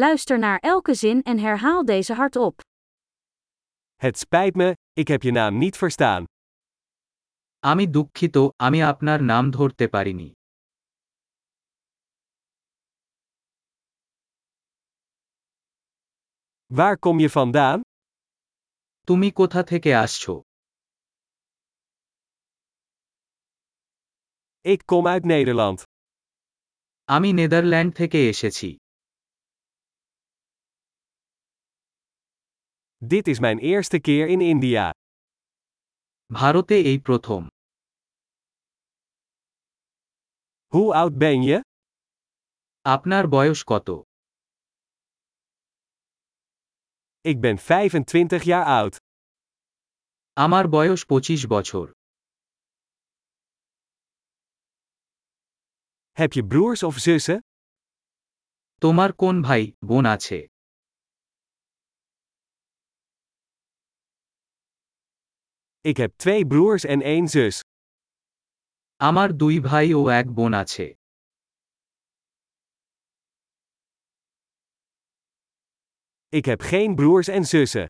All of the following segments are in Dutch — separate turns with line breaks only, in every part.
Luister naar elke zin en herhaal deze hardop.
Het spijt me, ik heb je naam niet verstaan.
আমি দুঃখিত আমি আপনার নাম ধরতে পারিনি
Waar kom je vandaan?
তুমি কোথা থেকে আসছো
Ik kom uit Nederland.
আমি নেদারল্যান্ড থেকে এসেছি
Dit is mijn eerste keer in India.
ভারতে এই প্রথম
Hoe oud ben je?
আপনার বয়স কত
Ik ben 25 jaar oud.
আমার বয়স পঁচিশ বছর
Heb je broers of zussen?
তোমার কোন ভাই বোন আছে
Ik heb twee broers en één zus.
আমার দুই ভাই ও এক বোন আছে
Ik heb geen broers en zussen.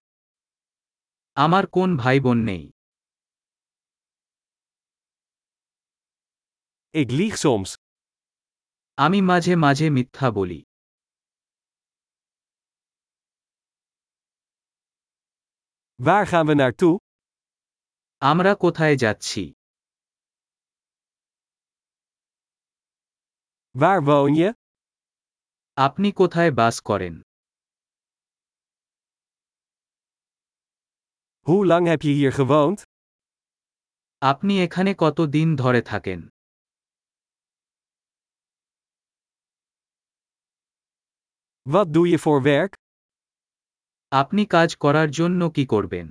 আমার কোন ভাই বোন নেই
Ik lieg soms.
আমি মাঝে মাঝে মিথ্যা বলি
Waar gaan we naartoe?
আমরা কোথায় যাচ্ছি
Waar woon je?
আপনি কোথায় বাস করেন
Hoe lang heb je hier gewoond?
আপনি এখানে কত দিন ধরে থাকেন
Wat doe je voor werk?
আপনি কাজ করার জন্য কি করবেন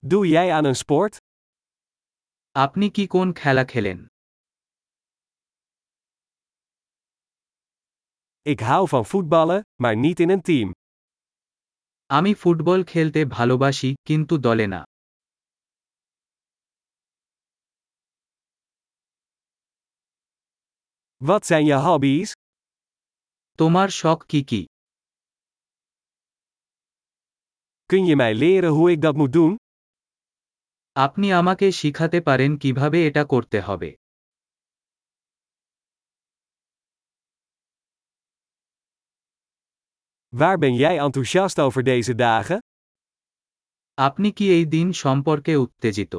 Doe jij aan een sport?
আপনি কি কোন খেলা খেলেন
Ik hou van voetballen, maar niet in een team.
আমি ফুটবল খেলতে ভালোবাসি কিন্তু দলে না
Wat zijn je hobby's?
তোমার শখ কি কি
Kun je mij leren hoe ik dat moet doen?
আপনি আমাকে শিখাতে পারেন কিভাবে এটা করতে হবে
Waar ben jij enthousiast over deze dagen?
আপনি কি এই দিন সম্পর্কে উত্তেজিত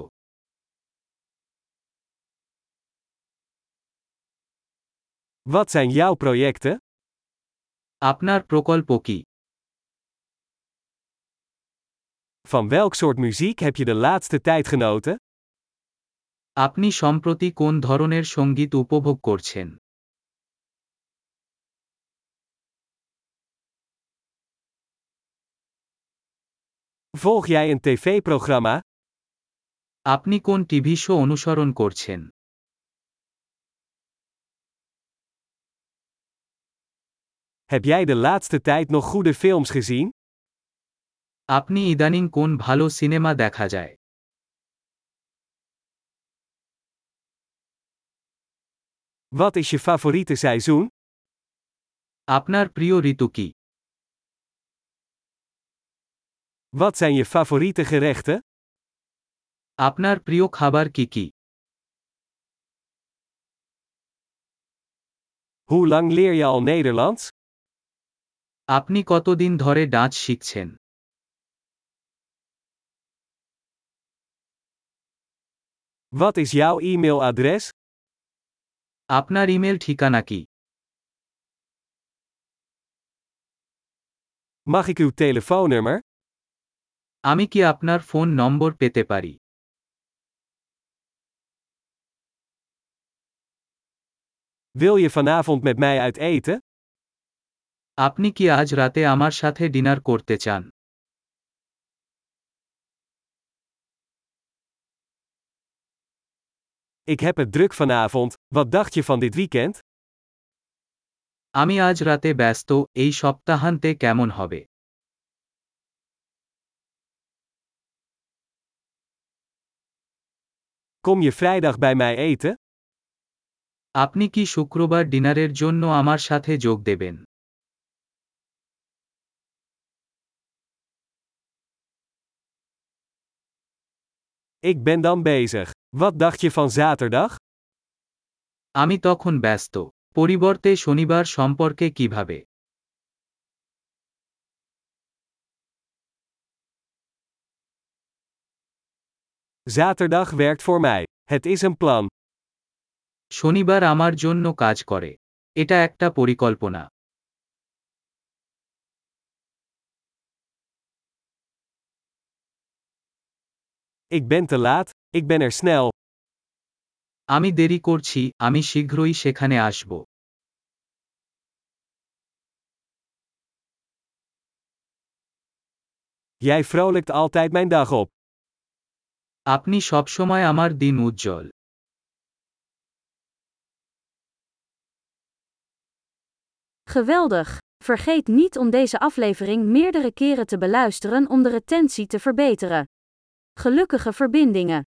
Wat zijn jouw projecten?
আপনার প্রকল্প কি
Van welk soort muziek heb je de laatste tijd genoten?
আপনি সম্প্রতি কোন ধরনের সঙ্গীত উপভোগ করছেন
Volg jij een tv-programma?
আপনি কোন টিভি শো অনুসরণ করছেন
Heb jij de laatste tijd nog goede films gezien?
আপনি ইদানিং কোন ভালো সিনেমা দেখা যায়
Wat is je favoriete seizoen?
আপনার প্রিয় ঋতু কি
Wat zijn je favoriete gerechten?
আপনার প্রিয় খাবার কি কি
Hoe lang leer je al Nederlands?
আপনি কতদিন ধরে ডান্স শিখছেন
Wat is jouw e-mailadres?
আপনার ইমেল ঠিকানা কি
Mag ik uw telefoonnummer?
আমি কি আপনার ফোন নম্বর পেতে পারি
Wil je vanavond met mij uit eten?
আপনি কি আজ রাতে আমার সাথে ডিনার করতে চান
Ik heb het druk vanavond, wat dacht je van dit weekend?
আমি আজ রাতে ব্যস্ত এই সপ্তাহান্তে কেমন হবে
Kom je vrijdag bij mij eten?
আপনি কি শুক্রবার ডিনারের জন্য আমার সাথে যোগ দেবেন
Ik ben dan bezig. Wat dacht je van zaterdag?
আমি তখন ব্যস্ত পরিবর্তে শনিবার সম্পর্কে কিভাবে
Zaterdag werkt voor mij. Het is een plan.
শনিবার আমার জন্য কাজ করে এটা একটা পরিকল্পনা
Ik ben te laat, ik ben er snel.
আমি দেরি করছি আমি শীঘ্রই সেখানে আসব
Jij vrolijkt altijd mijn dag op.
আপনি সবসময় আমার দিন উজ্জ্বল
Geweldig! Vergeet niet om deze aflevering meerdere keren te beluisteren om de retentie te verbeteren. Gelukkige verbindingen!